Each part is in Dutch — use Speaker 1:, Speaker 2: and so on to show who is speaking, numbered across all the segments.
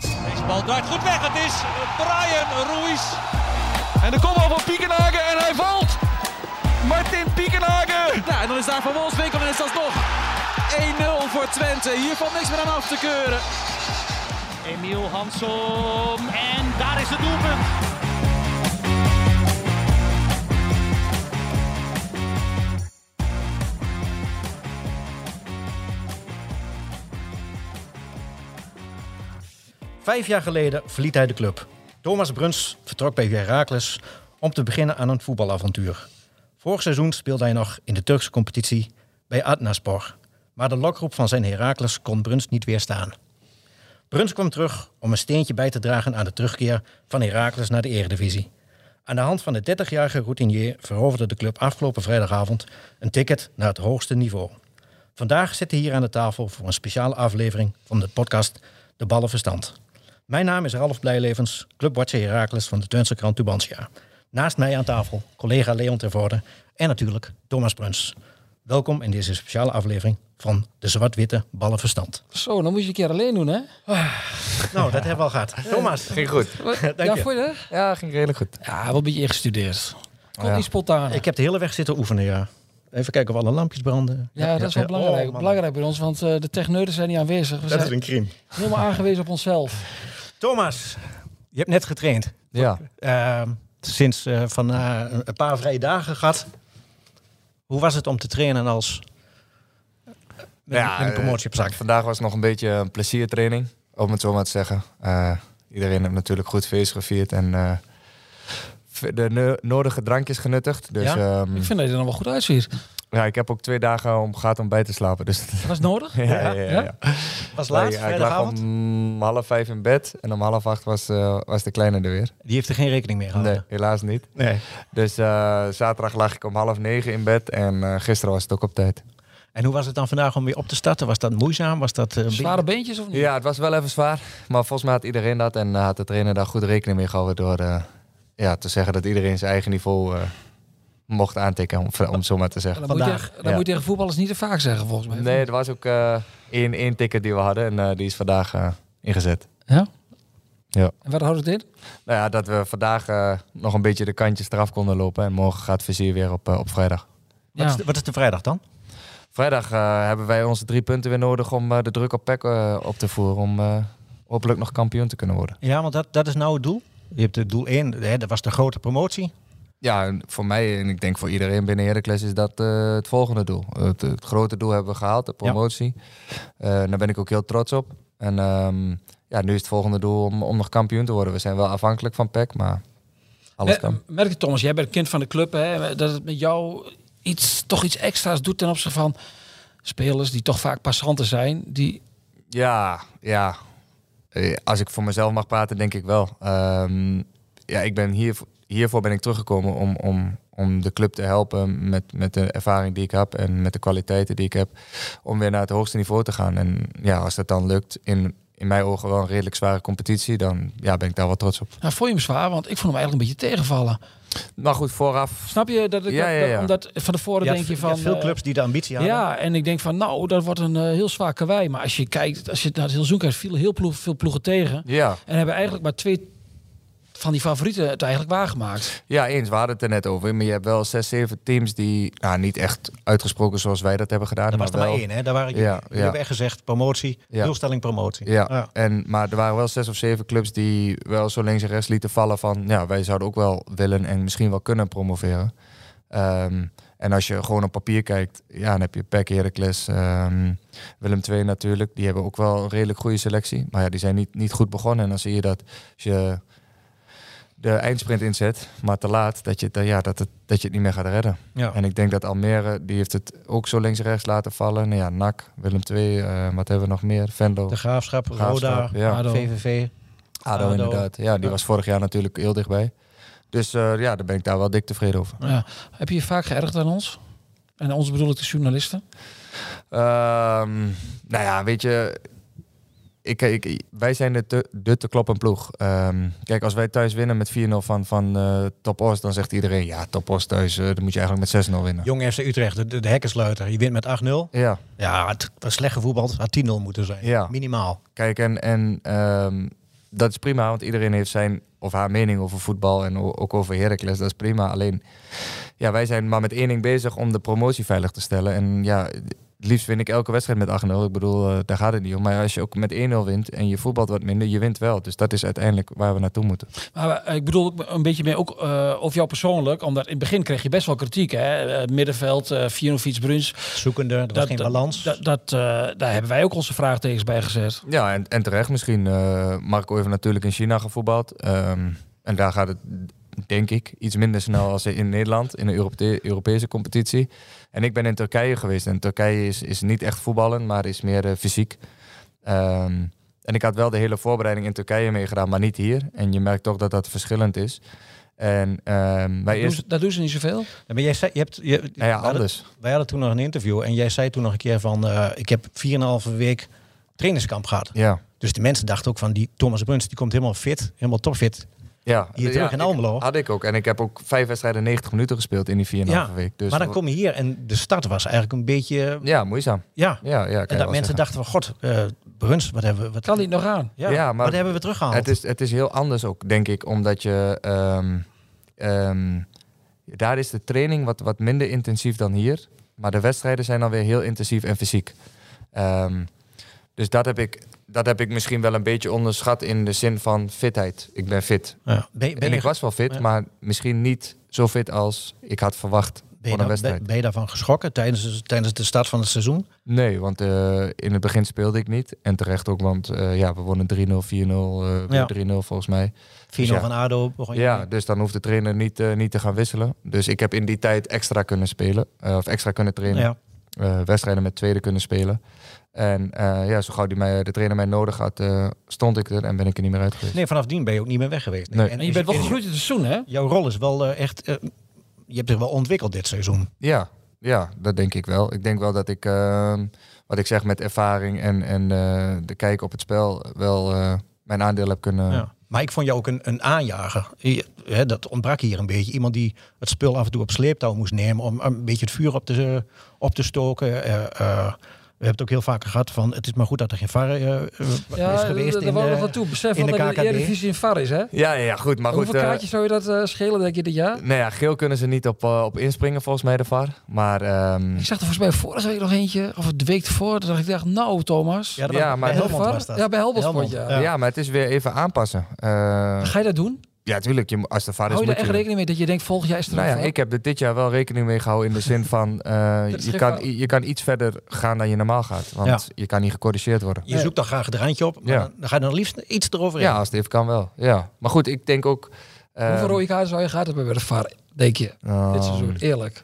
Speaker 1: Deze bal draait goed weg. Het is Brian Ruiz.
Speaker 2: En de kopbal van Piekenhagen en hij valt. Martin Piekenhagen.
Speaker 3: Ja, Nou, en dan is daar Van Wolfswinkel en is dat nog 1-0 voor Twente. Hier valt niks meer aan af te keuren.
Speaker 4: Emiel Hansom en daar is het doelpunt.
Speaker 5: Vijf jaar geleden verliet hij de club. Thomas Bruns vertrok bij Heracles om te beginnen aan een voetbalavontuur. Vorig seizoen speelde hij nog in de Turkse competitie bij Adnaspor. Maar de lokroep van zijn Heracles kon Bruns niet weerstaan. Bruns kwam terug om een steentje bij te dragen aan de terugkeer van Heracles naar de Eredivisie. Aan de hand van de 30-jarige routinier veroverde de club afgelopen vrijdagavond een ticket naar het hoogste niveau. Vandaag zitten hier aan de tafel voor een speciale aflevering van de podcast De Ballenverstand. Mijn naam is Ralf Blijlevens, clubwatcher Heracles van de Twentse krant Tubantia. Naast mij aan tafel collega Leon Tervoorde en natuurlijk Thomas Bruns. Welkom in deze speciale aflevering van de Zwart-Witte Ballenverstand.
Speaker 6: Zo, dan moet je een keer alleen doen, hè?
Speaker 5: Nou, dat hebben we al gehad. Thomas,
Speaker 2: Ging goed.
Speaker 5: dank
Speaker 6: ja,
Speaker 5: je.
Speaker 6: voor je?
Speaker 2: Ja, ging redelijk goed.
Speaker 6: Ja, wel een beetje ingestudeerd. Komt niet spontaan.
Speaker 5: Ik heb de hele weg zitten oefenen, ja. Even kijken of alle lampjes branden.
Speaker 6: ja, dat is wel belangrijk.
Speaker 5: Oh, man.
Speaker 6: belangrijk bij ons, want eh, de techneuten zijn niet aanwezig. We
Speaker 5: Dat is
Speaker 6: zijn
Speaker 5: een crime.
Speaker 6: helemaal aangewezen op onszelf.
Speaker 5: Thomas, je hebt net getraind.
Speaker 2: Ja.
Speaker 5: Ehm, sinds eh, van eh, een paar vrije dagen gehad. Hoe was het om te trainen als... eh, Met,
Speaker 2: Ja,
Speaker 5: met een
Speaker 2: eh,
Speaker 5: promotie op zak.
Speaker 2: Vandaag was nog een beetje een pleziertraining, om het zo maar te zeggen. Eh, iedereen heeft natuurlijk goed feest gevierd en eh, de no- nodige drankjes genuttigd. Dus
Speaker 5: Ja?
Speaker 2: ja?
Speaker 6: Ik vind dat je er nog wel goed uitziet.
Speaker 2: ja, ik heb ook twee dagen om gehad om bij te slapen. Dus
Speaker 6: Dat is nodig.
Speaker 2: ja, ja, ja, ja.
Speaker 5: Was laat,
Speaker 2: Ja, ik lag
Speaker 5: vrijdagavond.
Speaker 2: om half vijf in bed en om half acht was, eh, was de kleine er weer.
Speaker 5: Die heeft er geen rekening mee
Speaker 2: Nee,
Speaker 5: gehouden.
Speaker 2: helaas niet.
Speaker 5: Nee.
Speaker 2: Dus eh, zaterdag lag ik om half negen in bed en eh, gisteren was het ook op tijd.
Speaker 5: En hoe was het dan vandaag om weer op te starten? Was dat moeizaam? Was dat... eh, een
Speaker 6: Zware beentjes of niet?
Speaker 2: Ja, het was wel even zwaar, maar volgens mij had iedereen dat en eh, had de trainer daar goed rekening mee gehouden door eh, ja, te zeggen dat iedereen zijn eigen niveau eh, mocht aantikken, om, om het zo maar te zeggen.
Speaker 6: Dan, moet je,
Speaker 5: Vandaag,
Speaker 6: dan
Speaker 2: ja.
Speaker 6: moet je tegen voetballers niet te vaak zeggen, volgens mij.
Speaker 2: Nee, er was ook eh één, één ticket die we hadden en eh, die is vandaag eh, ingezet.
Speaker 6: Ja?
Speaker 2: Ja.
Speaker 6: En wat houdt het in?
Speaker 2: Nou ja, dat we vandaag eh, nog een beetje de kantjes eraf konden lopen en morgen gaat Vizier weer op, eh, op vrijdag.
Speaker 5: Wat, is
Speaker 6: Ja.
Speaker 5: de, wat is de vrijdag dan?
Speaker 2: Vrijdag eh, hebben wij onze drie punten weer nodig om eh, de druk op PEC eh, op te voeren. Om eh, hopelijk nog kampioen te kunnen worden.
Speaker 5: Ja, want dat, dat is nou het doel. Je hebt het doel 1, hè, dat was de grote promotie.
Speaker 2: Ja, en voor mij en ik denk voor iedereen binnen Heracles is dat eh, het volgende doel. Het, het grote doel hebben we gehaald, de promotie. Eh, daar ben ik ook heel trots op. En ehm, ja, nu is het volgende doel om, om nog kampioen te worden. We zijn wel afhankelijk van PEC, maar alles
Speaker 6: Mer-
Speaker 2: kan.
Speaker 6: Merk je, Thomas, jij bent kind van de club, hè, dat het met jou iets, toch iets extra's doet ten opzichte van spelers die toch vaak passanten zijn. Die,
Speaker 2: Ja, ja. Eh, Als ik voor mezelf mag praten, denk ik wel. Ehm, ja, ik ben hier, hiervoor ben ik teruggekomen om, om, om de club te helpen met, met de ervaring die ik heb en met de kwaliteiten die ik heb. Om weer naar het hoogste niveau te gaan. En ja, als dat dan lukt, in, in mijn ogen wel een redelijk zware competitie, dan ja, ben ik daar wel trots op.
Speaker 6: nou, vond je hem zwaar? Want ik vond hem eigenlijk een beetje tegenvallen.
Speaker 2: Maar goed, vooraf.
Speaker 6: Snap je dat ik
Speaker 2: Ja,
Speaker 6: dat-
Speaker 2: ja,
Speaker 6: dat-
Speaker 2: ja.
Speaker 6: omdat van tevoren
Speaker 5: Je had-
Speaker 6: denk
Speaker 5: je
Speaker 6: je
Speaker 5: had
Speaker 6: van
Speaker 5: veel
Speaker 6: eh,
Speaker 5: clubs die de ambitie hadden.
Speaker 6: ja, en ik denk van nou, dat wordt een eh, heel zwaar karwei. Maar als je kijkt, als je naar het heel zoek kijkt, vielen heel plo- veel ploegen tegen
Speaker 2: Ja,
Speaker 6: en hebben eigenlijk maar twee van die favorieten het eigenlijk waargemaakt.
Speaker 2: ja, eens. We hadden het er net over. Maar je hebt wel zes, zeven teams die nou, niet echt uitgesproken zoals wij dat hebben gedaan.
Speaker 5: Er was er maar
Speaker 2: wel-
Speaker 5: één, hè? Daar waren
Speaker 2: Ja,
Speaker 5: jullie.
Speaker 2: ja.
Speaker 5: Jullie hebben echt gezegd promotie,
Speaker 2: Ja.
Speaker 5: doelstelling promotie.
Speaker 2: Ja, En, maar er waren wel zes of zeven clubs die wel zo links en rechts lieten vallen van... ja, wij zouden ook wel willen en misschien wel kunnen promoveren. Ehm, en als je gewoon op papier kijkt, ja, dan heb je PEC, Heracles, ehm, Willem II natuurlijk. Die hebben ook wel een redelijk goede selectie. Maar ja, die zijn niet, niet goed begonnen. En dan zie je dat als je de eindsprint inzet, maar te laat, dat je, het, eh, ja, dat het, dat je het niet meer gaat redden.
Speaker 5: Ja.
Speaker 2: En ik denk dat Almere, die heeft het ook zo links en rechts laten vallen. Nou ja, NAC, Willem II, eh, wat hebben we nog meer? Venlo.
Speaker 5: De Graafschap, Roda,
Speaker 2: Graafschap, ja.
Speaker 6: ADO.
Speaker 5: VVV.
Speaker 2: ADO,
Speaker 5: ADO.
Speaker 2: inderdaad. Ja, die
Speaker 5: Ja.
Speaker 2: was vorig jaar natuurlijk heel dichtbij. Dus eh, ja, daar ben ik daar wel dik tevreden over.
Speaker 6: Ja. Heb je je vaak geërgerd aan ons? En aan ons bedoel ik de journalisten.
Speaker 2: Ehm, nou ja, weet je... ik, ik, wij zijn de te, de te kloppen ploeg. Ehm, kijk, als wij thuis winnen met 4-0 van, van eh Top Os, dan zegt iedereen... Ja, Top Os thuis, eh, dan moet je eigenlijk met 6-0 winnen.
Speaker 5: Jong FC Utrecht, de, de, de hekkensluiter. Je wint met 8-0.
Speaker 2: Ja,
Speaker 5: Ja, het was slecht voetbal. Het had 10-0 moeten zijn.
Speaker 2: Ja.
Speaker 5: Minimaal.
Speaker 2: kijk, en, en ehm, dat is prima, want iedereen heeft zijn of haar mening over voetbal en o- ook over Heracles. Dat is prima. Alleen, ja, wij zijn maar met één ding bezig om de promotie veilig te stellen. En ja, het liefst win ik elke wedstrijd met 8-0. Ik bedoel, eh, daar gaat het niet om. Maar als je ook met 1-0 wint en je voetbalt wat minder, je wint wel. Dus dat is uiteindelijk waar we naartoe moeten.
Speaker 6: Maar eh, ik bedoel ook een beetje meer ook eh over jou persoonlijk. Omdat in het begin kreeg je best wel kritiek. Hè? Eh, middenveld, eh Fjinovic, Bruns.
Speaker 5: Zoekende, er was geen balans.
Speaker 6: Dat, dat, eh, daar hebben wij ook onze vraagtekens bij gezet.
Speaker 2: Ja, en, en terecht misschien. eh, Marco heeft natuurlijk in China gevoetbald. Ehm, en daar gaat het, denk ik, iets minder snel als in Nederland, in de Europe- Europese competitie. En ik ben in Turkije geweest. En Turkije is, is niet echt voetballen, maar is meer eh, fysiek. Ehm, en ik had wel de hele voorbereiding in Turkije meegedaan, maar niet hier. En je merkt toch dat dat verschillend is. En ehm wij
Speaker 6: Doen
Speaker 2: eerst...
Speaker 6: ze- Dat doen ze niet zoveel.
Speaker 5: Ja, maar jij zei, je hebt, je,
Speaker 2: Nou ja,
Speaker 5: wij hadden-
Speaker 2: anders.
Speaker 5: Wij hadden toen nog een interview en jij zei toen nog een keer van... eh, ik heb 4,5 week trainingskamp gehad.
Speaker 2: Ja.
Speaker 5: Dus de mensen dachten ook van die Thomas Bruns, die komt helemaal fit, helemaal topfit.
Speaker 2: Dus Ja,
Speaker 5: Hier terug in
Speaker 2: ik-
Speaker 5: Almelo.
Speaker 2: Had ik ook. En ik heb ook vijf wedstrijden 90 minuten gespeeld in die 4,5
Speaker 5: Ja,
Speaker 2: week. Dus
Speaker 5: maar dan kom je hier en de start was eigenlijk een beetje... eh,
Speaker 2: Ja, moeizaam.
Speaker 5: Ja,
Speaker 2: Ja, ja, kan je wel
Speaker 5: en dat
Speaker 2: zeggen.
Speaker 5: mensen dachten van god, eh, Bruns, wat hebben we... Wat,
Speaker 6: Kan niet nog aan.
Speaker 5: ja,
Speaker 2: Ja, maar
Speaker 5: wat hebben we teruggehaald?
Speaker 2: Het is, het is heel anders ook, denk ik, omdat je. ehm, ehm, daar is de training wat, wat minder intensief dan hier. Maar de wedstrijden zijn dan weer heel intensief en fysiek. Ehm, dus dat heb, ik, dat heb ik misschien wel een beetje onderschat in de zin van fitheid. Ik ben fit.
Speaker 5: Ja. Ben, ben
Speaker 2: en
Speaker 5: je,
Speaker 2: ik was wel fit,
Speaker 5: ja.
Speaker 2: maar misschien niet zo fit als ik had verwacht
Speaker 5: ben, je
Speaker 2: voor een
Speaker 5: daar-
Speaker 2: wedstrijd.
Speaker 5: ben je daarvan geschrokken tijdens, tijdens de start van het seizoen?
Speaker 2: Nee, want eh, in het begin speelde ik niet. En terecht ook, want eh, ja, we wonnen 3-0, 4-0, eh,
Speaker 5: Ja.
Speaker 2: weer 3-0 volgens mij.
Speaker 5: 4-0
Speaker 2: ja.
Speaker 5: van ADO begon je
Speaker 2: Ja, dus dan hoeft de trainer niet, eh, niet te gaan wisselen. Dus ik heb in die tijd extra kunnen spelen. eh, of extra kunnen trainen.
Speaker 5: Ja.
Speaker 2: Eh, wedstrijden met tweede kunnen spelen. En eh, ja, zo gauw die mij, de trainer mij nodig had, eh, stond ik er en ben ik er niet meer uit geweest.
Speaker 5: Nee, vanaf dien ben je ook niet meer weg geweest.
Speaker 2: Nee.
Speaker 6: En je bent wel gegroeid in het seizoen, hè?
Speaker 5: Jouw rol is wel eh, echt... eh, je hebt zich wel ontwikkeld dit seizoen.
Speaker 2: Ja, ja, dat denk ik wel. Ik denk wel dat ik, ehm, wat ik zeg met ervaring en, en eh, de kijk op het spel, wel eh, mijn aandeel heb kunnen...
Speaker 5: Ja. Maar ik vond jou ook een, een aanjager. Je- hè, dat ontbrak hier een beetje. Iemand die het spul af en toe op sleeptouw moest nemen om een beetje het vuur op te, op te stoken. Eh, eh, we hebben het ook heel vaak gehad van het is maar goed dat er geen VAR eh, eh, is geweest.
Speaker 6: daar
Speaker 5: in eh,
Speaker 6: wou ik
Speaker 5: de-
Speaker 6: nog naartoe. Besef
Speaker 5: in
Speaker 6: wat
Speaker 5: de
Speaker 6: er in de
Speaker 5: KKD.
Speaker 6: Eredivisie in VAR is, hè?
Speaker 2: Ja, ja, ja, goed. Maar goed,
Speaker 6: Hoeveel
Speaker 2: eh,
Speaker 6: kaartjes zou je dat eh, schelen, denk je, dit
Speaker 5: Mm.
Speaker 6: jaar?
Speaker 2: nou ja, geel kunnen ze niet op, eh, op inspringen volgens mij de VAR. Maar ehm,
Speaker 6: Ik zag er volgens mij vorige week nog eentje, of de week ervoor. Toen dacht ik, dacht, nou Thomas.
Speaker 5: Ja, dat
Speaker 2: Ja,
Speaker 5: was-
Speaker 2: maar-
Speaker 5: bij Helmond
Speaker 6: VAR?
Speaker 5: was dat.
Speaker 6: Ja, bij Helmond,
Speaker 5: Helmond,
Speaker 6: vond je.
Speaker 5: ja.
Speaker 2: ja. maar het is weer even aanpassen. Eh,
Speaker 6: Ga je dat doen?
Speaker 2: Ja, tuurlijk. Je, mo- als de
Speaker 6: Hou
Speaker 2: vader Ah, is,
Speaker 6: je daar
Speaker 2: moet
Speaker 6: echt
Speaker 2: je...
Speaker 6: rekening mee dat je denkt, volgend jaar is er
Speaker 2: Nou
Speaker 6: een
Speaker 2: ja,
Speaker 6: VAR?
Speaker 2: ik heb er dit jaar wel rekening mee gehouden in de zin van... eh,
Speaker 6: Dat is
Speaker 2: je,
Speaker 6: geen
Speaker 2: kan,
Speaker 6: fout.
Speaker 2: i- je kan iets verder gaan dan je normaal gaat. Want
Speaker 5: Ja.
Speaker 2: je kan niet gecorrigeerd worden.
Speaker 5: Je zoekt dan graag het randje op, maar
Speaker 2: Ja.
Speaker 5: dan, dan ga je dan liefst iets erover
Speaker 2: Ja, als het even kan wel. Ja. Maar goed, ik denk ook... eh,
Speaker 6: Hoeveel rode kaarten zou je gehad hebben bij de VAR, denk je?
Speaker 2: nou,
Speaker 6: dit seizoen, eerlijk.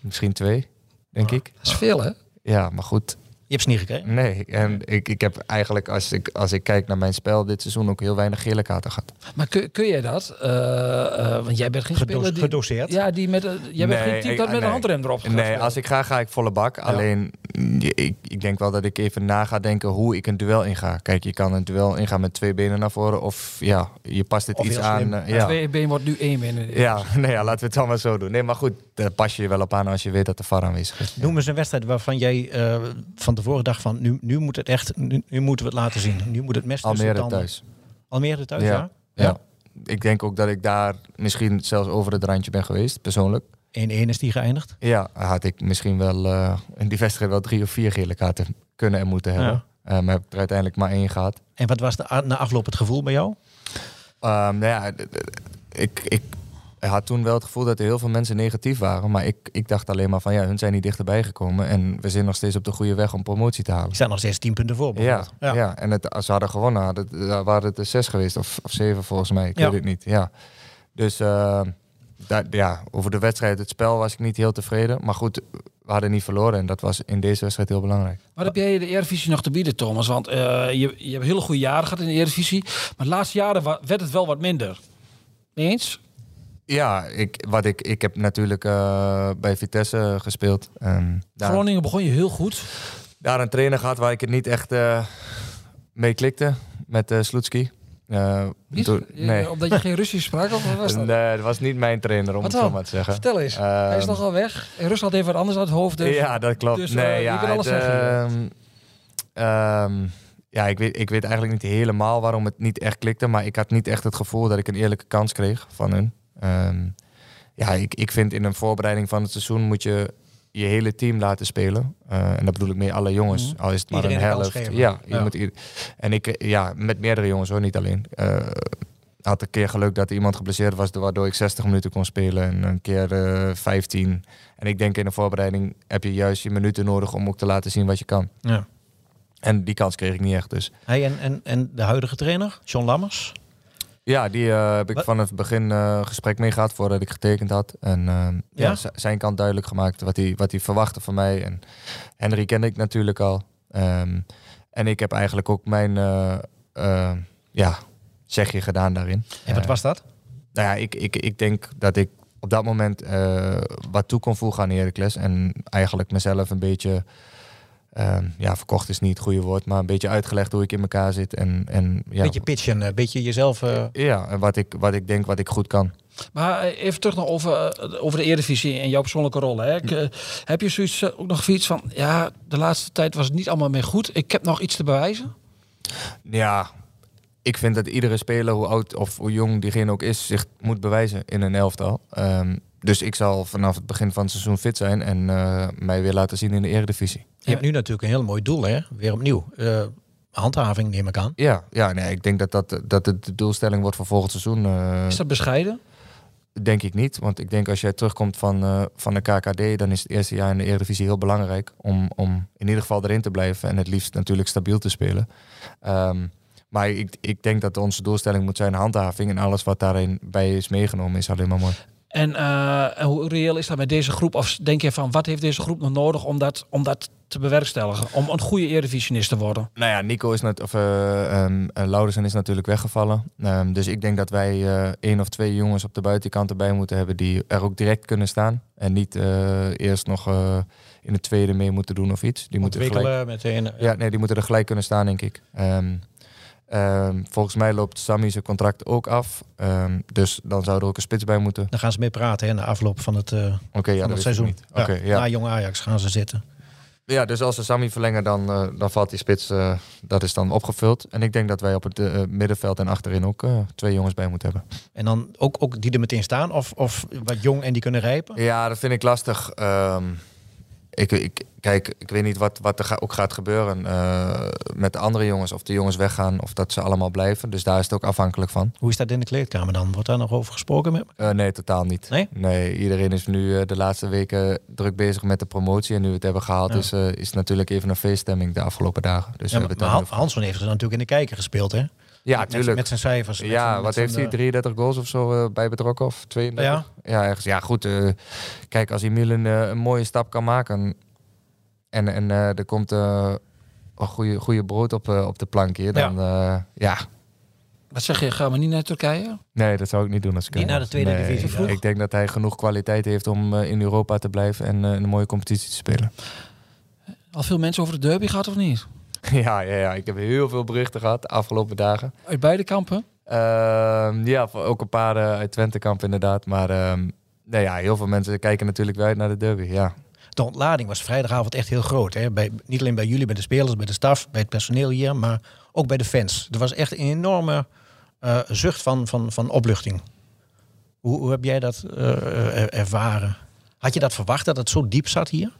Speaker 2: Misschien twee, denk ik.
Speaker 6: Dat is veel, hè?
Speaker 2: Ja, maar goed.
Speaker 5: Je hebt ze niet gekregen.
Speaker 2: Nee, en ik, ik heb eigenlijk, als ik, als ik kijk naar mijn spel dit seizoen, ook heel weinig gele kaarten gehad.
Speaker 6: Maar kun, kun jij dat? Eh, eh, want jij bent geen
Speaker 5: Gedo-
Speaker 6: speler die...
Speaker 5: gedoseerd.
Speaker 6: Ja, die met, eh, jij bent
Speaker 2: Nee,
Speaker 6: geen team
Speaker 2: ik-
Speaker 6: dat met
Speaker 2: nee.
Speaker 6: een handrem erop gaat
Speaker 2: Nee,
Speaker 6: spelen.
Speaker 2: als ik ga, ga ik volle bak. Alleen, mm, ik, ik denk wel dat ik even na ga denken hoe ik een duel inga. Kijk, je kan een duel ingaan met twee benen naar voren. Of ja, je past het
Speaker 5: Of
Speaker 2: iets
Speaker 5: heel
Speaker 2: aan.
Speaker 5: slim.
Speaker 2: eh,
Speaker 6: Ja.
Speaker 2: ja.
Speaker 6: Twee been wordt nu één been.
Speaker 2: Ja, nee, ja, laten we het dan maar zo doen. Nee, maar goed, daar pas je je wel op aan als je weet dat de VAR aanwezig is.
Speaker 5: Noem eens een wedstrijd waarvan jij eh, van tevoren dacht van nu, nu moet het echt, nu, nu moeten we het laten zien. Nu moet het mes tussen de
Speaker 2: Almere
Speaker 5: tanden.
Speaker 2: thuis.
Speaker 5: Almere thuis,
Speaker 2: Ja.
Speaker 5: ja.
Speaker 2: Ja. Ik denk ook dat ik daar misschien zelfs over het randje ben geweest, persoonlijk.
Speaker 5: 1-1 is die geëindigd.
Speaker 2: Ja, had ik misschien wel eh, in die wedstrijd wel drie of vier gele kaarten kunnen en moeten hebben. Eh, maar heb ik er uiteindelijk maar één gehad.
Speaker 5: En wat was de, a- na afloop het gevoel bij jou?
Speaker 2: Ehm, nou ja, d- d- ik, ik had toen wel het gevoel dat er heel veel mensen negatief waren. Maar ik, ik dacht alleen maar van ja, hun zijn niet dichterbij gekomen. En we zijn nog steeds op de goede weg om promotie te halen.
Speaker 5: Je staat nog steeds 10 punten voor.
Speaker 2: Ja,
Speaker 5: bijvoorbeeld.
Speaker 2: ja. en het, als ze hadden gewonnen, hadden, het- eh, waren het er zes geweest. Of, of zeven volgens mij, ik
Speaker 5: Ja.
Speaker 2: weet het niet. Ja. Dus ehm, daar- ja, over de wedstrijd, het spel was ik niet heel tevreden. Maar goed, we hadden niet verloren. En dat was in deze wedstrijd heel belangrijk.
Speaker 6: Wat heb jij de Eredivisie nog te bieden, Thomas? Want eh, je, je hebt hele goede jaren gehad in de Eredivisie. Maar de laatste jaren wa- werd het wel wat minder. Niet eens?
Speaker 2: Ja, ik, wat ik, ik heb natuurlijk eh, bij Vitesse gespeeld. Ehm, daar-
Speaker 6: Groningen begon je heel goed.
Speaker 2: daar een trainer gehad waar ik het niet echt eh, mee klikte met eh Sloetski. Eh,
Speaker 6: Niet?
Speaker 2: toen-
Speaker 6: Je-
Speaker 2: nee,
Speaker 6: Omdat je geen Russisch sprak? Of wat was dat?
Speaker 2: nee, dat was niet mijn trainer,
Speaker 6: Wat
Speaker 2: om het zo
Speaker 6: dan?
Speaker 2: maar te zeggen.
Speaker 6: Vertel eens. Hij is
Speaker 2: Ehm,
Speaker 6: nogal weg. En Rusland heeft wat anders uit het hoofd. Dus
Speaker 2: ja, dat klopt.
Speaker 6: dus,
Speaker 2: nee,
Speaker 6: eh, je
Speaker 2: ja,
Speaker 6: kunt alles
Speaker 2: het,
Speaker 6: zeggen.
Speaker 2: ehm, ehm, ja, ik weet, ik weet eigenlijk niet helemaal waarom het niet echt klikte, maar ik had niet echt het gevoel dat ik een eerlijke kans kreeg van hun. Ehm, ja, ik, ik vind in een voorbereiding van het seizoen moet je je hele team laten spelen. Eh, en dat bedoel ik meer alle jongens,
Speaker 6: Mhm.
Speaker 2: al is het maar
Speaker 5: Iedereen
Speaker 2: een
Speaker 5: een kans
Speaker 2: helft.
Speaker 5: geven.
Speaker 2: Ja, je
Speaker 5: Ja.
Speaker 2: Moet ieder- en ik, eh, ja, met meerdere jongens hoor, niet alleen. Eh, had een keer geluk dat er iemand geblesseerd was, waardoor ik 60 minuten kon spelen. En een keer eh 15. En ik denk in de voorbereiding heb je juist je minuten nodig om ook te laten zien wat je kan.
Speaker 5: Ja.
Speaker 2: En die kans kreeg ik niet echt dus.
Speaker 5: Hij en, en, en de huidige trainer, John Lammers.
Speaker 2: Ja, die eh, heb ik
Speaker 5: Wat-
Speaker 2: van het begin eh, gesprek mee gehad voordat ik getekend had. En eh,
Speaker 5: Ja?
Speaker 2: ja? z- zijn kant duidelijk gemaakt wat hij, wat hij verwachtte van mij. En Henry kende ik natuurlijk al. Ehm, en ik heb eigenlijk ook mijn eh, eh, ja, zegje gedaan daarin.
Speaker 5: En wat
Speaker 2: Eh,
Speaker 5: was dat?
Speaker 2: Nou ja, ik, ik, ik denk dat ik op dat moment eh, wat toe kon voegen aan Heracles. En eigenlijk mezelf een beetje... ehm, ja, verkocht is niet het goede woord, maar een beetje uitgelegd hoe ik in elkaar zit. En, en, ja,
Speaker 5: Beetje pitchen, een beetje jezelf... eh,
Speaker 2: ja, en wat ik, wat ik denk wat ik goed kan.
Speaker 6: Maar eh, even terug nog over, eh, over de Eredivisie en jouw persoonlijke rol. Hè. Ik, eh, heb je zoiets, eh, ook nog iets van... Ja, de laatste tijd was het niet allemaal meer goed. Ik heb nog iets te bewijzen.
Speaker 2: Ja, ik vind dat iedere speler, hoe oud of hoe jong diegene ook is, zich moet bewijzen in een elftal. Ehm, dus ik zal vanaf het begin van het seizoen fit zijn en eh, mij weer laten zien in de eredivisie.
Speaker 5: Je hebt nu natuurlijk een heel mooi doel, hè? Weer opnieuw. Eh, handhaving neem ik aan.
Speaker 2: Ja, ja nee, ik denk dat, dat, dat het de doelstelling wordt voor volgend seizoen. eh,
Speaker 6: Is dat bescheiden?
Speaker 2: Denk ik niet, want ik denk als jij terugkomt van, eh, van de KKD, dan is het eerste jaar in de Eredivisie heel belangrijk om, om in ieder geval erin te blijven en het liefst natuurlijk stabiel te spelen. Ehm, maar ik, ik denk dat onze doelstelling moet zijn handhaving en alles wat daarin bij is meegenomen is alleen maar mooi.
Speaker 6: En, eh, en hoe reëel is dat met deze groep? Of denk je van, wat heeft deze groep nog nodig om dat, om dat te bewerkstelligen? Om een goede Eredivisionist te worden?
Speaker 2: Nou ja, Nico is net, of eh, ehm, eh, Laurensen is natuurlijk weggevallen. Ehm, dus ik denk dat wij eh, één of twee jongens op de buitenkant erbij moeten hebben die er ook direct kunnen staan. En niet eh, eerst nog eh, in de tweede mee moeten doen of iets. Die moeten gelijk
Speaker 5: Ontwikkelen meteen. eh,
Speaker 2: Ja, nee, die moeten er gelijk kunnen staan, denk ik. Ehm, ehm, volgens mij loopt Sammy zijn contract ook af. Ehm, dus dan zou er ook een spits bij moeten.
Speaker 5: Dan gaan ze mee praten hè, na afloop van het, eh,
Speaker 2: Oké, ja,
Speaker 5: van
Speaker 2: dat
Speaker 5: het
Speaker 2: weet ik
Speaker 5: seizoen.
Speaker 2: niet. Oké, ja.
Speaker 5: Na Jong Ajax gaan ze zitten.
Speaker 2: Ja, dus als ze Sammy verlengen, dan, eh, dan valt die spits, eh, dat is dan opgevuld. En ik denk dat wij op het eh, middenveld en achterin ook eh, twee jongens bij moeten hebben.
Speaker 5: En dan ook, ook die er meteen staan? Of, of wat jong en die kunnen rijpen?
Speaker 2: Ja, dat vind ik lastig. Ehm, ik, ik, kijk, ik weet niet wat, wat er ga- ook gaat gebeuren eh, met de andere jongens. Of de jongens weggaan of dat ze allemaal blijven. Dus daar is het ook afhankelijk van.
Speaker 5: Hoe is dat in de kleedkamer dan? Wordt daar nog over gesproken? Met...
Speaker 2: Eh, nee, totaal niet.
Speaker 5: Nee?
Speaker 2: iedereen is nu eh, de laatste weken druk bezig met de promotie. En nu we het hebben gehaald,
Speaker 5: Ja.
Speaker 2: is, eh, is het natuurlijk even een feeststemming de afgelopen dagen. Dus
Speaker 5: Ja,
Speaker 2: we
Speaker 5: maar
Speaker 2: hebben
Speaker 5: maar
Speaker 2: het daar
Speaker 5: Han-
Speaker 2: niet over.
Speaker 5: Hanson heeft er natuurlijk in de kijker gespeeld, hè?
Speaker 2: Ja,
Speaker 5: Met-
Speaker 2: tuurlijk.
Speaker 5: Met zijn cijfers. met
Speaker 2: ja,
Speaker 5: zijn-
Speaker 2: wat
Speaker 5: met
Speaker 2: heeft hij?
Speaker 5: zijn, eh,
Speaker 2: 33 goals of zo eh, bij betrokken? Of 32? Ja, ergens. Ja, goed. eh, kijk, als Emil een, eh, een mooie stap kan maken en, en eh, er komt eh, een goede, goede brood op, eh, op de plank hier, dan ja. ja.
Speaker 6: Wat zeg je, gaan we niet naar Turkije?
Speaker 2: Nee, dat zou ik niet doen als ik
Speaker 5: Niet
Speaker 2: hem
Speaker 5: naar de
Speaker 2: was.
Speaker 5: tweede
Speaker 2: Nee,
Speaker 5: divisie vroeg?
Speaker 2: Ik denk dat hij genoeg kwaliteit heeft om eh, in Europa te blijven en eh, een mooie competitie te spelen.
Speaker 6: Al veel mensen over de derby gehad of niet?
Speaker 2: ja, ja, ja, ik heb heel veel berichten gehad de afgelopen dagen.
Speaker 6: Uit beide kampen?
Speaker 2: Ehm, ja, voor- ook een paar eh, uit Twentekamp inderdaad. Maar ehm, nou ja, heel veel mensen kijken natuurlijk wel uit naar de derby. Ja,
Speaker 5: De ontlading was vrijdagavond echt heel groot. Hè? Bij, niet alleen bij jullie, bij de spelers, bij de staf, bij het personeel hier, maar ook bij de fans. Er was echt een enorme eh, zucht van, van, van opluchting. Hoe, hoe heb jij dat eh, er- ervaren? Had je dat verwacht dat het zo diep zat hier?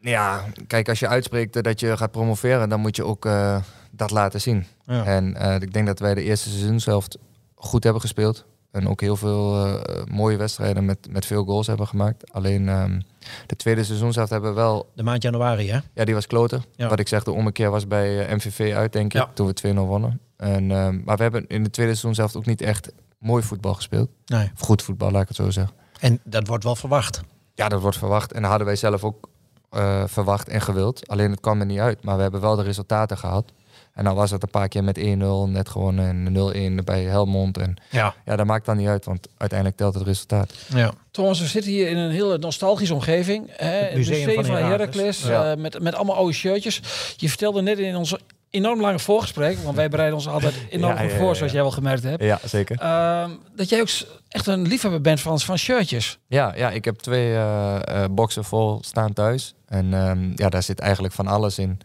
Speaker 2: ja kijk, als je uitspreekt eh, dat je gaat promoveren, dan moet je ook eh, dat laten zien.
Speaker 5: Ja.
Speaker 2: En eh, ik denk dat wij de eerste seizoenshelft goed hebben gespeeld. En ook heel veel eh, mooie wedstrijden met, met veel goals hebben gemaakt. Alleen ehm, de tweede seizoenshelft hebben we wel...
Speaker 5: De maand januari, hè?
Speaker 2: Ja, die was kloten.
Speaker 5: Ja.
Speaker 2: Wat ik zeg, de ommekeer was bij eh, MVV uit, denk ik.
Speaker 5: Ja.
Speaker 2: Toen we 2-0 wonnen. En, ehm, maar we hebben in de tweede seizoenshelft ook niet echt mooi voetbal gespeeld.
Speaker 5: Nee.
Speaker 2: Of goed voetbal, laat ik het zo zeggen.
Speaker 5: En dat wordt wel verwacht.
Speaker 2: Ja, dat wordt verwacht. En dat hadden wij zelf ook eh, verwacht en gewild. Alleen het kwam er niet uit. Maar we hebben wel de resultaten gehad. En dan was het een paar keer met 1-0 net gewonnen en 0-1 bij Helmond. En
Speaker 5: Ja.
Speaker 2: ja, dat maakt dan niet uit, want uiteindelijk telt het resultaat.
Speaker 5: ja.
Speaker 6: Thomas, we zitten hier in een hele nostalgische omgeving. Hè? Het
Speaker 5: museum
Speaker 6: museum
Speaker 5: van
Speaker 6: van
Speaker 5: Heracles.
Speaker 6: Heracles,
Speaker 2: Ja.
Speaker 6: eh, met, met allemaal oude shirtjes. Je vertelde net in onze enorm lange voorgesprek, want wij bereiden ons altijd enorm
Speaker 2: Ja,
Speaker 6: goed
Speaker 2: ja,
Speaker 6: voor,
Speaker 2: ja,
Speaker 6: zoals
Speaker 2: ja.
Speaker 6: jij wel gemerkt hebt.
Speaker 2: Ja, zeker.
Speaker 6: Ehm, dat jij ook s- echt een liefhebber bent van, van shirtjes.
Speaker 2: Ja, ja, ik heb twee eh, eh, boxen vol staan thuis. En ehm, ja, daar zit eigenlijk van alles in.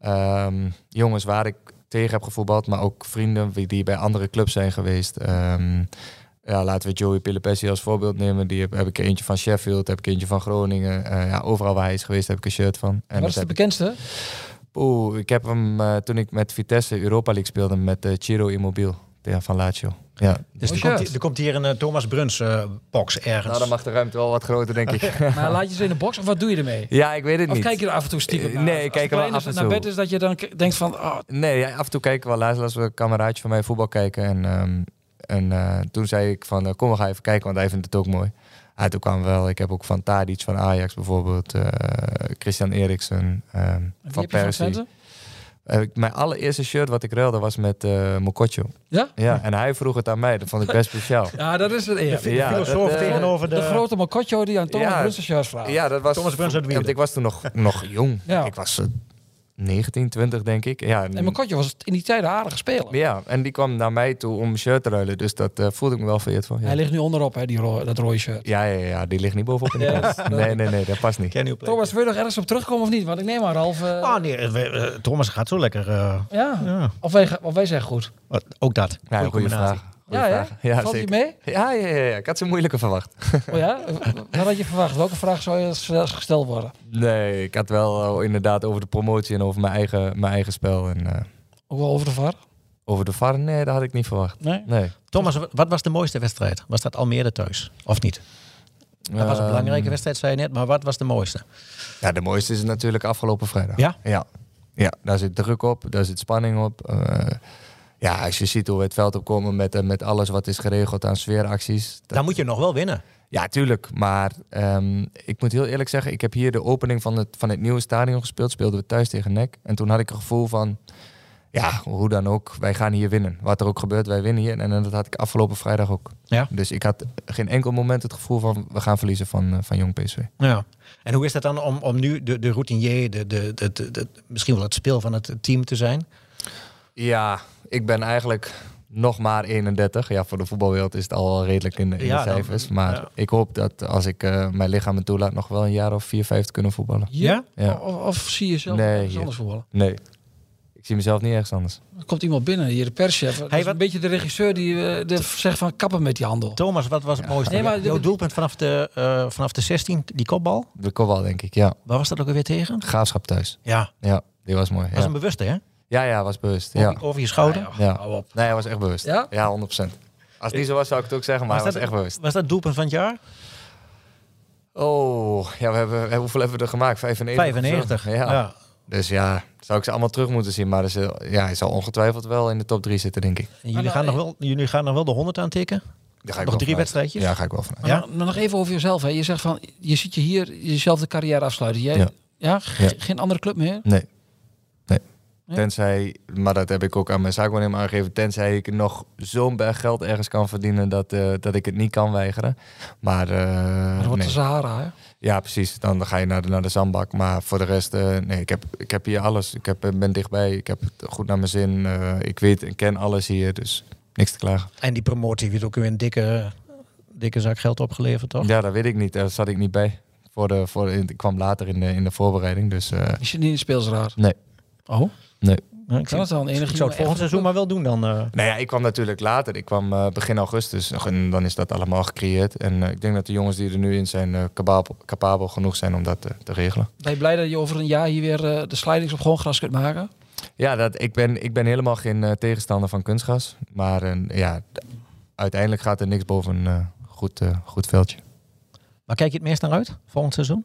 Speaker 2: Ehm, jongens waar ik tegen heb gevoetbald, maar ook vrienden wie- die bij andere clubs zijn geweest. Ehm, ja, laten we Joey Pilipessi als voorbeeld nemen. Die heb, heb ik eentje van Sheffield, heb ik eentje van Groningen. Eh, ja, overal waar hij is geweest heb ik een shirt van. En
Speaker 6: Wat is
Speaker 2: dat
Speaker 6: de
Speaker 2: heb ik-
Speaker 6: bekendste?
Speaker 2: Oeh, ik heb hem eh, toen ik met Vitesse Europa League speelde met eh, Ciro Immobile ja, van Lazio. Ja.
Speaker 5: Dus
Speaker 6: Mooi
Speaker 5: er komt,
Speaker 6: shirt.
Speaker 5: hier- er komt hier een eh, Thomas Bruns eh, box
Speaker 2: Nou,
Speaker 5: ergens.
Speaker 2: dan mag de ruimte wel wat groter, denk ik.
Speaker 6: Maar Nou, laat je ze in de box of wat doe je ermee?
Speaker 2: ja, ik weet het
Speaker 6: Of
Speaker 2: niet.
Speaker 6: kijk je er af en toe stiekem
Speaker 2: Eh,
Speaker 6: naar?
Speaker 2: nee,
Speaker 6: Als
Speaker 2: ik
Speaker 6: de
Speaker 2: kijk er wel
Speaker 6: kleine
Speaker 2: af en
Speaker 6: naar
Speaker 2: toe.
Speaker 6: bed is dat je dan k- denkt van, oh,
Speaker 2: Nee, ja, af en toe kijken we wel. Laatst was een kameraadje van mij voetbal kijken. En, ehm, en eh, toen zei ik van, eh, kom, we gaan even kijken, want hij vindt het ook mooi. Ah, toen kwam wel, ik heb ook van Tadic van Ajax bijvoorbeeld, eh, Christian Eriksen, ehm,
Speaker 6: wie
Speaker 2: van
Speaker 6: heb je van
Speaker 2: Persie.
Speaker 6: Twente?
Speaker 2: Eh, ik- mijn allereerste shirt wat ik ruilde was met eh Mokotjo.
Speaker 6: Ja?
Speaker 2: Ja, en hij vroeg het aan mij, dat vond ik best speciaal.
Speaker 6: Ja, dat is het eer.
Speaker 5: De
Speaker 2: Ja,
Speaker 5: filosoof
Speaker 2: dat, eh,
Speaker 5: tegenover
Speaker 6: de,
Speaker 5: de...
Speaker 6: grote Mokotjo die aan Thomas
Speaker 2: Ja.
Speaker 6: Bruns een shirt vraagt.
Speaker 2: Ja, dat was.
Speaker 5: Thomas Bruns uit Wierden.
Speaker 2: Want ik was toen nog, nog jong.
Speaker 6: Ja.
Speaker 2: Ik was eh, 19, 20 denk ik. Ja, en-
Speaker 6: En Mokotjo was in die tijd een aardige speler.
Speaker 2: ja, en die kwam naar mij toe om een shirt te ruilen. Dus dat eh, voelde ik me wel vereerd van. Ja.
Speaker 6: Hij ligt nu onderop, hè, die ro- dat rode shirt.
Speaker 2: Ja, ja, ja, die ligt niet bovenop in de
Speaker 6: Ja,
Speaker 2: kast.
Speaker 6: dat-
Speaker 2: Nee, nee, nee, dat past niet.
Speaker 5: Can you play?
Speaker 6: Thomas, wil je nog ergens op terugkomen of niet? Want ik neem aan, Ralf... eh,
Speaker 5: Ah, nee, eh, we- eh, Thomas gaat zo lekker. eh,
Speaker 6: ja.
Speaker 5: ja.
Speaker 6: Of, wij, ga- of wij zijn goed.
Speaker 5: Wat- Ook dat.
Speaker 2: Ja,
Speaker 5: Goeie
Speaker 2: goede
Speaker 5: combinatie.
Speaker 2: vraag. Goeie
Speaker 6: ja,
Speaker 2: vraag.
Speaker 6: hè?
Speaker 2: Ja,
Speaker 6: Valt je
Speaker 2: zeker.
Speaker 6: mee?
Speaker 2: Ja, ja, ja, ja, ik had ze moeilijker verwacht.
Speaker 6: Oh ja? Wat had je verwacht? Welke vraag zou je als- als gesteld worden?
Speaker 2: Nee, ik had wel eh, inderdaad over de promotie en over mijn eigen, mijn eigen spel. En eh,
Speaker 6: Ook wel over de VAR?
Speaker 2: over de VAR, nee, dat had ik niet verwacht.
Speaker 6: Nee.
Speaker 2: Nee.
Speaker 5: Thomas, wat was de mooiste wedstrijd? Was dat Almere thuis? Of niet? Dat was een
Speaker 2: Ehm,
Speaker 5: belangrijke wedstrijd, zei je net. Maar wat was de mooiste?
Speaker 2: Ja, de mooiste is natuurlijk afgelopen vrijdag.
Speaker 5: Ja?
Speaker 2: Ja, ja daar zit druk op, daar zit spanning op. Eh, ja, als je ziet hoe we het veld opkomen met, eh, met alles wat is geregeld aan sfeeracties. dat-
Speaker 5: Dan moet je nog wel winnen.
Speaker 2: Ja, tuurlijk. Maar ehm, ik moet heel eerlijk zeggen, ik heb hier de opening van het, van het nieuwe stadion gespeeld. Speelden we thuis tegen NEC. En toen had ik het gevoel van, ja, hoe dan ook, wij gaan hier winnen. Wat er ook gebeurt, wij winnen hier. En, en dat had ik afgelopen vrijdag ook.
Speaker 5: Ja.
Speaker 2: Dus ik had geen enkel moment het gevoel van, we gaan verliezen van, eh, van Jong PSV.
Speaker 5: Ja. En hoe is dat dan om, om nu de, de routinier, de, de, de, de- de- misschien wel het speel van het team te zijn?
Speaker 2: Ja, ik ben eigenlijk nog maar 31. Ja, voor de voetbalwereld is het al redelijk in de, in
Speaker 5: Ja,
Speaker 2: de
Speaker 5: dan-
Speaker 2: cijfers. maar
Speaker 5: ja.
Speaker 2: ik hoop dat als ik eh, mijn lichaam het toelaat, nog wel een jaar of vier, vijf te kunnen voetballen.
Speaker 5: Ja?
Speaker 2: Ja.
Speaker 6: Of, of zie je zelf
Speaker 2: Nee,
Speaker 6: ergens
Speaker 2: hier.
Speaker 6: anders voetballen?
Speaker 2: Nee, ik zie mezelf niet ergens anders.
Speaker 6: Er komt iemand binnen, hier de perschef. Hij is
Speaker 5: wat-
Speaker 6: een beetje de regisseur die eh, de- zegt van kappen met die handel.
Speaker 5: Thomas, wat was het mooiste?
Speaker 6: Nee, maar-
Speaker 5: Jouw doelpunt vanaf de, eh, vanaf de 16, die kopbal.
Speaker 2: De kopbal, denk ik, ja.
Speaker 5: Waar was dat ook alweer tegen?
Speaker 2: Graafschap thuis.
Speaker 5: Ja,
Speaker 2: Ja, die was mooi.
Speaker 5: was
Speaker 2: Ja,
Speaker 5: een Oh, bewuste, hè?
Speaker 2: ja, ja was bewust. Ja.
Speaker 5: Over, over je schouder.
Speaker 2: Ja.
Speaker 6: Hou op.
Speaker 2: Nee, hij was echt bewust.
Speaker 6: Ja?
Speaker 2: Ja, 100%. Als het niet zo was, zou ik het ook zeggen, maar hij was
Speaker 5: dat,
Speaker 2: echt bewust.
Speaker 5: was dat het doelpunt van het jaar?
Speaker 2: Oh, ja, we hebben, hoeveel hebben we er gemaakt? 95?
Speaker 5: 95.
Speaker 2: Ja. Dus ja, zou ik ze allemaal terug moeten zien. Maar dus, eh, ja, hij zal ongetwijfeld wel in de top 3 zitten, denk ik.
Speaker 5: En jullie, gaan nog wel, jullie gaan nog wel de 100 aantikken?
Speaker 2: Daar ga ik
Speaker 5: Nog
Speaker 2: wel
Speaker 5: drie
Speaker 2: vanuit.
Speaker 5: wedstrijdjes?
Speaker 2: Ja, ga ik wel vanuit.
Speaker 6: Maar
Speaker 5: Ja?
Speaker 6: nog- maar nog even over jezelf. Hè. Je zegt van, je ziet je hier jezelf de carrière afsluiten. Jij, ja.
Speaker 2: Ja.
Speaker 6: Ge-
Speaker 2: Ja.
Speaker 6: Geen andere club meer?
Speaker 2: Nee. nee.
Speaker 6: Nee?
Speaker 2: Tenzij, maar dat heb ik ook aan mijn zaakwaarnemer aangegeven, tenzij ik nog zo'n berg geld ergens kan verdienen dat, eh, dat ik het niet kan weigeren. Maar, eh,
Speaker 6: Maar dat wordt
Speaker 2: nee.
Speaker 6: de Sahara, hè?
Speaker 2: ja, precies. Dan ga je naar de, naar de zandbak. Maar voor de rest, eh, nee, ik heb, ik heb hier alles. Ik heb, eh, ben dichtbij, ik heb het goed naar mijn zin. Eh, ik weet en ken alles hier, dus niks te klagen.
Speaker 5: En die promotie heeft ook weer een dikke, dikke zak geld opgeleverd, toch?
Speaker 2: Ja, dat weet ik niet. Daar zat ik niet bij. Voor de, voor de, ik kwam later in de, in de voorbereiding, dus eh,
Speaker 6: Je zit niet in de speelsraad.
Speaker 2: nee.
Speaker 6: Oh,
Speaker 2: Nee.
Speaker 5: Nou, ik,
Speaker 6: kan het dan? Enige
Speaker 5: ik zou het volgend seizoen maar wel doen dan. eh.
Speaker 2: Nou ja, ik kwam natuurlijk later. Ik kwam eh, begin augustus. Nog- En dan is dat allemaal gecreëerd. En eh, ik denk dat de jongens die er nu in zijn eh, kababel- capabel genoeg zijn om dat eh, te regelen.
Speaker 6: Ben je blij dat je over een jaar hier weer eh, de slidings op gewoon gras kunt maken?
Speaker 2: Ja, dat, ik, ben, ik ben helemaal geen eh, tegenstander van kunstgas. Maar eh, ja, d- uiteindelijk gaat er niks boven een eh, goed, eh, goed veldje.
Speaker 5: Maar kijk je het meest naar uit, volgend seizoen?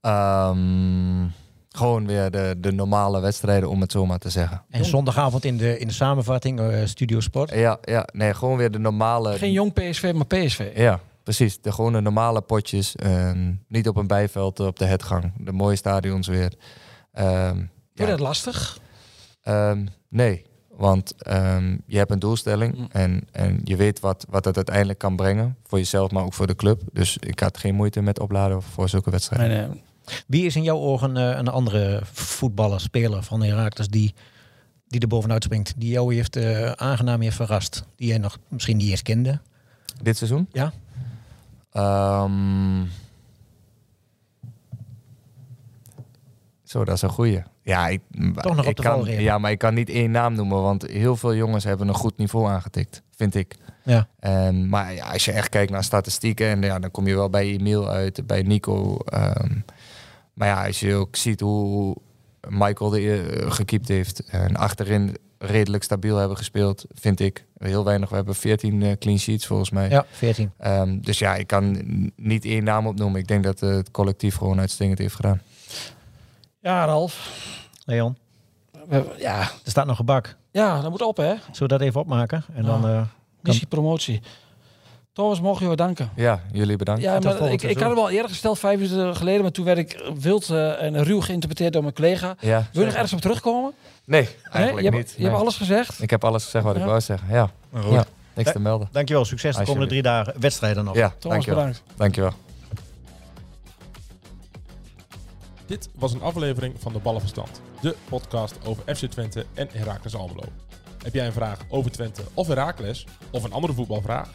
Speaker 2: Ehm, gewoon weer de, de normale wedstrijden, om het zo maar te zeggen.
Speaker 5: En zondagavond in de, in de samenvatting, eh, Studio Sport.
Speaker 2: Ja, ja, nee, gewoon weer de normale...
Speaker 6: Geen jong PSV, maar PSV.
Speaker 2: Ja, precies. De gewone normale potjes. Ehm, niet op een bijveld, op de headgang. De mooie stadions weer. Ehm,
Speaker 6: Vind je
Speaker 2: ja.
Speaker 6: dat lastig?
Speaker 2: Ehm, nee, want ehm, je hebt een doelstelling
Speaker 6: Mm.
Speaker 2: en, en je weet wat, wat het uiteindelijk kan brengen. Voor jezelf, maar ook voor de club. Dus ik had geen moeite met opladen voor zulke wedstrijden.
Speaker 6: Nee, nee.
Speaker 7: Wie is in jouw ogen eh, een andere voetballer, speler van Herakles die, die er bovenuit springt? Die jou heeft eh, aangenaam heeft verrast? Die jij nog misschien niet eens kende?
Speaker 2: Dit seizoen?
Speaker 7: Ja.
Speaker 2: Ehm. Zo, dat is een goeie. Ja, ik,
Speaker 7: Toch nog op
Speaker 2: ik
Speaker 7: de
Speaker 2: kan,
Speaker 7: valreep.
Speaker 2: Ja, maar ik kan niet één naam noemen, want heel veel jongens hebben een goed niveau aangetikt, vind ik.
Speaker 7: Ja.
Speaker 2: Ehm, maar ja, als je echt kijkt naar statistieken, en, ja, dan kom je wel bij Emiel uit, bij Nico. ehm. maar ja, als je ook ziet hoe hoe Michael de, eh, gekiept heeft en achterin redelijk stabiel hebben gespeeld, vind ik. Heel weinig, we hebben 14 eh, clean sheets volgens mij.
Speaker 7: Ja, 14.
Speaker 2: Ehm, dus ja, ik kan n- niet één naam opnoemen. Ik denk dat eh, het collectief gewoon uitstekend heeft gedaan.
Speaker 6: Ja, Ralf.
Speaker 7: Leon,
Speaker 6: We- Ja,
Speaker 7: er staat nog een bak.
Speaker 6: ja, dat moet op, hè?
Speaker 7: Zullen we dat even opmaken? En dan, eh,
Speaker 6: Missie promotie. Thomas, mogen we danken.
Speaker 2: Ja, jullie bedankt.
Speaker 6: Ja, maar
Speaker 7: volgend
Speaker 6: ik, ik
Speaker 7: seizoen.
Speaker 6: had hem al eerder gesteld, vijf minuten geleden. Maar toen werd ik eh, wild eh, en ruw geïnterpreteerd door mijn collega.
Speaker 2: Ja.
Speaker 6: Wil je nog ergens op terugkomen?
Speaker 2: Nee,
Speaker 6: Nee,
Speaker 2: eigenlijk
Speaker 6: je
Speaker 2: niet.
Speaker 6: hebt, je
Speaker 2: nee.
Speaker 6: hebt alles gezegd.
Speaker 2: Ik heb alles gezegd wat
Speaker 6: Ja.
Speaker 2: ik wou zeggen. Ja,
Speaker 7: eh,
Speaker 5: Maar
Speaker 2: Ja. niks te melden.
Speaker 5: Dankjewel, succes de komende drie dagen. Wedstrijden nog.
Speaker 2: Ja,
Speaker 6: Thomas,
Speaker 2: dankjewel.
Speaker 6: bedankt.
Speaker 2: Dankjewel.
Speaker 8: Dit was een aflevering van de Ballenverstand, de podcast over FC Twente en Heracles Almelo. Heb jij een vraag over Twente of Heracles of een andere voetbalvraag?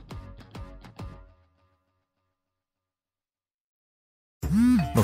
Speaker 9: We